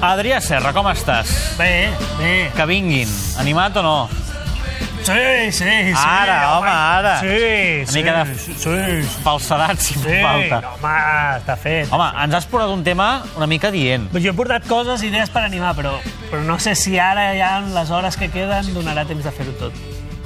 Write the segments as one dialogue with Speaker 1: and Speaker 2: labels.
Speaker 1: Adrià Serra, com estàs?
Speaker 2: Bé, bé.
Speaker 1: Que vinguin. Animat o no?
Speaker 2: Sí, sí, sí.
Speaker 1: Ara, home, ara.
Speaker 2: Sí,
Speaker 1: Una
Speaker 2: sí.
Speaker 1: mica de-
Speaker 2: Sí, sí.
Speaker 1: Falsedat, si
Speaker 2: sí.
Speaker 1: fa falta.
Speaker 2: Home, està fet.
Speaker 1: Home, ens has portat un tema una mica dient.
Speaker 2: Jo he portat coses, idees per animar, però, però no sé si ara, ja en les hores que queden, donarà temps de fer-ho tot.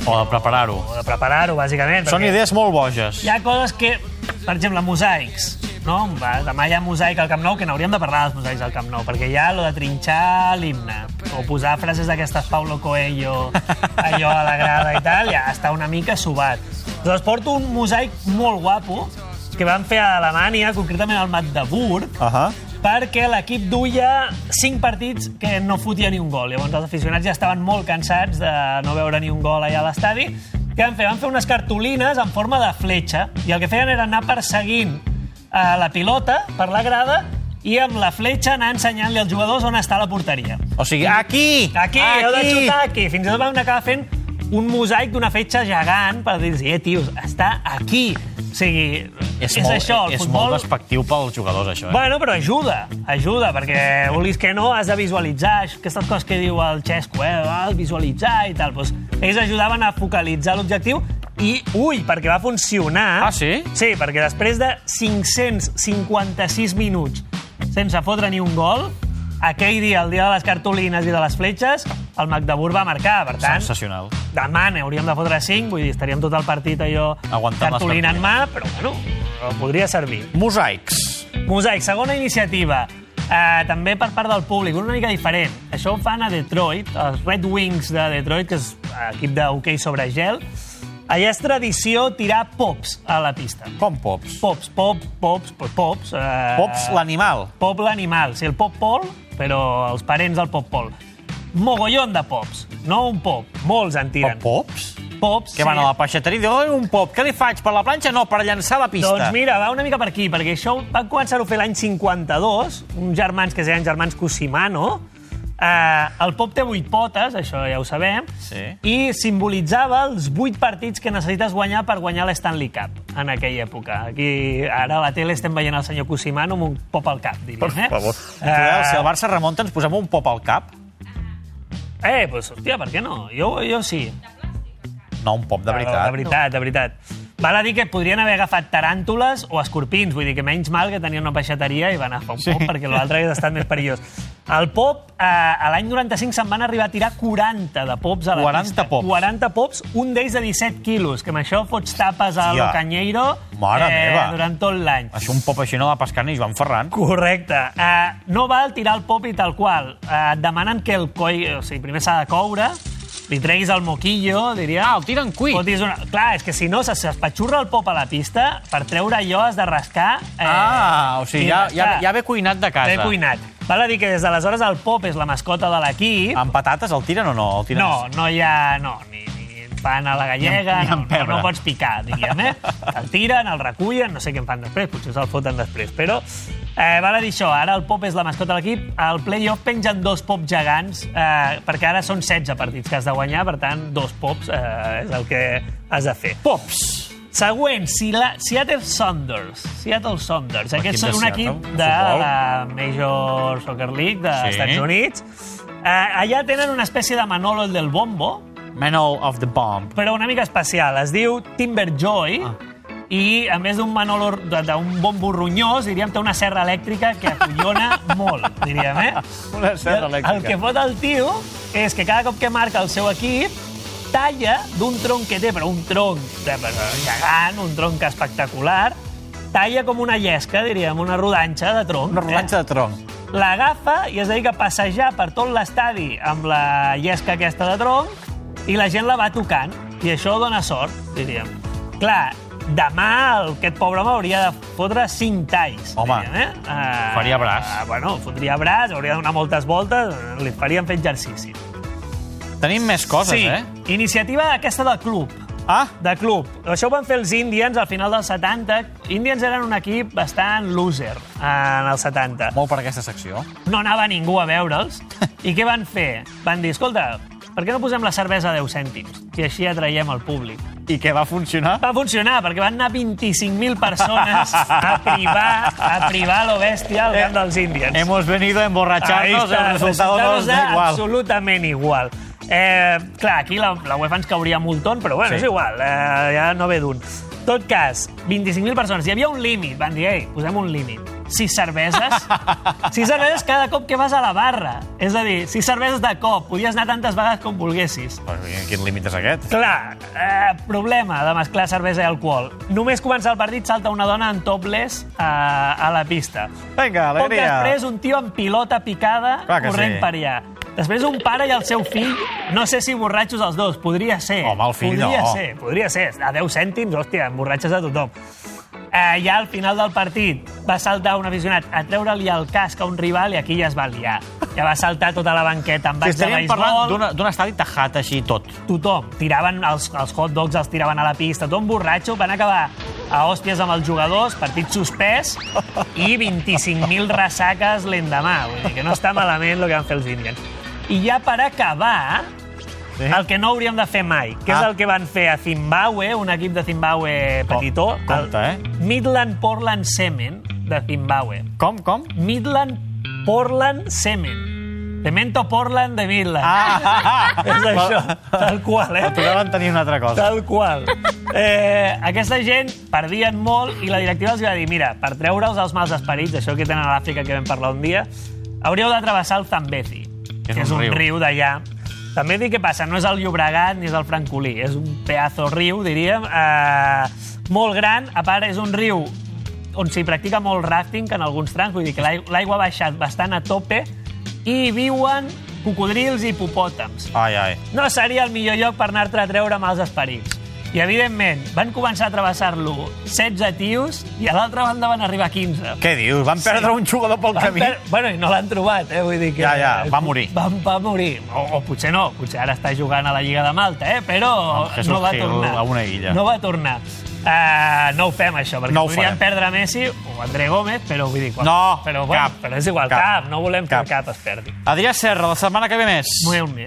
Speaker 1: O de preparar-ho.
Speaker 2: O de preparar-ho, bàsicament.
Speaker 1: Són
Speaker 2: perquè
Speaker 1: idees molt boges.
Speaker 2: Hi ha coses que, per exemple, mosaics. No? Va, demà hi ha mosaic al Camp Nou, que n'hauríem de parlar dels mosaics al Camp Nou, perquè hi ha lo de trinxar l'himne, o posar frases d'aquestes Paulo Coelho, allò a la grada i tal, ja està una mica subat. Llavors porto un mosaic molt guapo, que van fer a Alemanya, concretament al Magdeburg,
Speaker 1: Ahà.
Speaker 2: perquè l'equip duia 5 partits que no fotia ni un gol. Llavors els aficionats ja estaven molt cansats de no veure ni un gol allà a l'estadi. Què van fer? Van fer unes cartolines en forma de fletxa i el que feien era anar perseguint eh, la pilota per la grada i amb la fletxa anar ensenyant-li als jugadors on està la porteria.
Speaker 1: O sigui, aquí!
Speaker 2: Aquí, aquí. heu de xutar aquí. Fins i tot vam acabar fent un mosaic d'una fetxa gegant per dir-los, eh, tios, està aquí. O sigui, és, és
Speaker 1: molt,
Speaker 2: això, el
Speaker 1: és
Speaker 2: futbol...
Speaker 1: molt despectiu pels jugadors, això. Eh?
Speaker 2: Bueno, però ajuda, ajuda, perquè vulguis que no, has de visualitzar això- aquestes coses que diu el Xesco, eh? Ah, visualitzar i tal. Doncs ells ajudaven a focalitzar l'objectiu i, ui, perquè va funcionar...
Speaker 1: Ah, sí?
Speaker 2: Sí, perquè després de 556 minuts sense fotre ni un gol, aquell dia, el dia de les cartolines i de les fletxes, el Magdeburg va marcar, per tant...
Speaker 1: Sensacional.
Speaker 2: Demà n'hauríem de fotre 5, vull dir, estaríem tot el partit allò...
Speaker 1: Aguantant les
Speaker 2: cartolina en mà, però bueno, però podria servir.
Speaker 1: Mosaics.
Speaker 2: Mosaic, segona iniciativa. Uh, també per part del públic, una mica diferent. Això ho fan a Detroit, els Red Wings de Detroit, que és eh, equip d'hoquei sobre gel. Allà és tradició tirar pops a la pista.
Speaker 1: Com pops?
Speaker 2: Pops, pop, pops, pops, pops. Uh,
Speaker 1: Pops, l'animal.
Speaker 2: Pop l'animal, sí, el pop pol, però els parents del pop pol. Mogollon de pops, no un pop, molts en tiren.
Speaker 1: Pops?
Speaker 2: Pops,
Speaker 1: Que van a la peixateria i diuen, "Oi, un pop, què li faig? Per la planxa? No, per llançar a la pista.
Speaker 2: Doncs mira, va una mica per aquí, perquè això va començar a fer l'any 52, uns germans que es deien germans Cusimano, Eh, el pop té vuit potes, això ja ho sabem,
Speaker 1: Sí.
Speaker 2: i simbolitzava els vuit partits que necessites guanyar per guanyar l'Stanley Cup en aquella època. Aquí, ara a la tele estem veient el senyor Cusimano amb un pop al cap, diríem. Per eh? Ah.
Speaker 1: favor. Cuidado, si el Barça remunta, ens posem un pop al cap.
Speaker 2: Eh, doncs, hòstia, per què no? Jo, jo sí.
Speaker 1: No, un pop de veritat.
Speaker 2: De veritat, de veritat. Val a dir que podrien haver agafat taràntules o escorpins, vull dir que menys mal que tenien una peixateria i van agafar un pop, sí. perquè l'altre hauria estat més perillós. El pop, eh, a l'any 95 se'n van arribar a tirar 40 de pops a la
Speaker 1: 40
Speaker 2: pista.
Speaker 1: pops.
Speaker 2: 40 pops, un d'ells de 17 quilos, que amb això fots tapes a
Speaker 1: Hòstia.
Speaker 2: lo Canyeiro
Speaker 1: Mare meva.
Speaker 2: durant tot l'any.
Speaker 1: Això un pop així no va pescar ni Joan Ferran.
Speaker 2: Correcte. Uh, no val tirar el pop i tal qual. Uh, et demanen que el coi... O sigui, primer s'ha de coure, li treguis el moquillo, diria...
Speaker 1: Ah, el tiren cuit.
Speaker 2: Fotis una... Clar, és que si no, se- s'espatxurra el pop a la pista, per treure allò has de rascar... Eh,
Speaker 1: Ah, o sigui, ja, ja, ja ve cuinat de casa.
Speaker 2: Bé cuinat. Val a dir que des d'aleshores el pop és la mascota de l'equip.
Speaker 1: Amb patates el tiren o no? El tiren
Speaker 2: No, no hi ha... No, ni, ni pan a la gallega,
Speaker 1: Ni amb- ni amb
Speaker 2: no, no,
Speaker 1: pebre.
Speaker 2: no pots picar, diríem, eh? El tiren, el recullen, no sé què en fan després, potser se'l foten després, però... Eh, val a dir això, ara el pop és la mascota de l'equip, al play-off pengen dos pop gegants, eh, perquè ara són 16 partits que has de guanyar, per tant, dos pops eh, és el que has de fer.
Speaker 1: Pops.
Speaker 2: Següent, si la, Seattle Sounders. Seattle Sounders. Aquests
Speaker 1: de
Speaker 2: són un
Speaker 1: Seattle,
Speaker 2: equip de
Speaker 1: futbol.
Speaker 2: la Major Soccer League dels
Speaker 1: Sí.
Speaker 2: sí. Estats Units. Eh, allà tenen una espècie de Manolo el del Bombo,
Speaker 1: Manol of the Bomb.
Speaker 2: però una mica especial. Es diu Timberjoy, ah. i a més d'un Manolo, de- d'un bombo ronyós, diríem, té una serra elèctrica que acollona molt, diríem, eh?
Speaker 1: Una serra
Speaker 2: El-
Speaker 1: elèctrica.
Speaker 2: El que fot el tio és que cada cop que marca el seu equip, talla d'un tronc que té, però un tronc de, però gegant, un tronc espectacular, talla com una llesca, diríem, una rodanxa de tronc.
Speaker 1: Una rodanxa de tronc.
Speaker 2: L'agafa i es dedica a passejar per tot l'estadi amb la llesca aquesta de tronc i la gent la va tocant. I això dona sort, diríem. Clar, demà el- aquest pobre home hauria de fotre 5 talls.
Speaker 1: Home,
Speaker 2: diríem, eh? Uh,
Speaker 1: faria braç.
Speaker 2: Uh, bueno, fotria braç, hauria de donar moltes voltes, eh, li farien fer exercici.
Speaker 1: Tenim més coses,
Speaker 2: sí,
Speaker 1: eh?
Speaker 2: iniciativa aquesta del club
Speaker 1: Ah,
Speaker 2: de club. Això ho van fer els Indians al final dels 70. Indians eren un equip bastant loser eh, en els 70
Speaker 1: molt per aquesta secció.
Speaker 2: no anava ningú a veure'ls. I què van fer? Van dir, escolta, per què no posem la cervesa a 10 cèntims? I així atraiem el públic.
Speaker 3: I que va funcionar?
Speaker 2: Va funcionar, perquè van anar 25.000 persones a privar, a privar lo bèstia al camp dels Indians.
Speaker 3: Hemos venido a emborracharnos, el resultado nos da igual.
Speaker 2: Absolutament igual. Eh, clar, aquí la, la UEFA ens cauria multon, però bueno,
Speaker 3: Sí.
Speaker 2: sí. és igual, eh, ja no ve d'un. tot cas, 25.000 persones. Hi havia un límit. Van dir, ei, posem un límit. Sis cerveses. sis cerveses cada cop que vas a la barra. És a dir, sis cerveses de cop. Podies anar tantes vegades com volguessis.
Speaker 3: Però Quin límit és aquest?
Speaker 2: Clar, eh, problema de mesclar cervesa i alcohol. Només començar el partit salta una dona en topless eh, a la pista.
Speaker 3: Vinga,
Speaker 2: Poc
Speaker 3: alegria.
Speaker 2: després, un tio amb pilota picada
Speaker 3: Clar que
Speaker 2: corrent
Speaker 3: sí.
Speaker 2: per allà. Després, un pare i el seu fill, no sé si borratxos els dos, podria ser.
Speaker 3: Home, el fill
Speaker 2: podria
Speaker 3: no.
Speaker 2: Ser, podria ser, a 10 cèntims, hòstia, borratxes a tothom. Eh, ja al final del partit va saltar un aficionat a treure-li el casc a un rival i aquí ja es va liar. Ja va saltar tota la banqueta amb
Speaker 3: Si
Speaker 2: baix de
Speaker 3: estaríem parlant
Speaker 2: beisbol
Speaker 3: d'un d'un estadi tajat així tot.
Speaker 2: tothom. Tiraven els, els hot dogs, els tiraven a la pista, tot borratxo. Van acabar a hòsties amb els jugadors, partit suspès i 25.000 ressaques l'endemà. Vull dir que no està malament el que van fer els Indians. I ja per acabar,
Speaker 3: Sí?
Speaker 2: el que no hauríem de fer mai, que és
Speaker 3: Ah.
Speaker 2: el que van fer a Zimbabue, un equip de Zimbabue petitó.
Speaker 3: Com- compte, eh?
Speaker 2: El Midland Portland Semen, de Zimbabue.
Speaker 3: Com, com?
Speaker 2: Midland Portland Semen. Cemento Portland de Midland.
Speaker 3: Ah, ah, ah.
Speaker 2: És això, tal qual, eh?
Speaker 3: Però deuen tenir una altra cosa.
Speaker 2: Tal qual. Eh, aquesta gent perdien molt i la directiva els va dir, mira, per treure-us els mals esperits, això que tenen a l'Àfrica que vam parlar un dia, hauríeu de travessar el Zambezi, que és un riu, riu d'allà. També dic què passa, no és el Llobregat ni és el Francolí, és un pedazo riu, diríem, eh, molt gran, a part és un riu on s'hi practica molt rafting en alguns trams, vull dir que l'aigua l'aigua ha baixat bastant a tope i hi viuen cocodrils i hipopòtams
Speaker 3: Ai, ai.
Speaker 2: no seria el millor lloc per anar-te a treure mals esperits. I, evidentment, van començar a travessar-lo 16 tios i a l'altra banda van arribar 15.
Speaker 3: Què dius? Van perdre un jugador pel
Speaker 2: Van
Speaker 3: camí?
Speaker 2: per... Bueno, i no l'han trobat, eh? Vull dir que...
Speaker 3: Ja, ja, va morir.
Speaker 2: Va, va morir. O, o potser no, potser ara està jugant a la Lliga de Malta, eh? Però
Speaker 3: Amb Jesús
Speaker 2: no va
Speaker 3: Gil
Speaker 2: tornar.
Speaker 3: a una illa.
Speaker 2: No va tornar. Uh, no ho fem, això, perquè
Speaker 3: No ho
Speaker 2: podríem
Speaker 3: farem.
Speaker 2: perdre Messi o André Gómez, però vull dir... Quan...
Speaker 3: No,
Speaker 2: però, bueno,
Speaker 3: cap.
Speaker 2: Però és igual,
Speaker 3: Cap.
Speaker 2: cap. No volem que
Speaker 3: Cap.
Speaker 2: cap es perdi.
Speaker 3: Adrià Serra, la setmana que ve més.
Speaker 2: Molt més.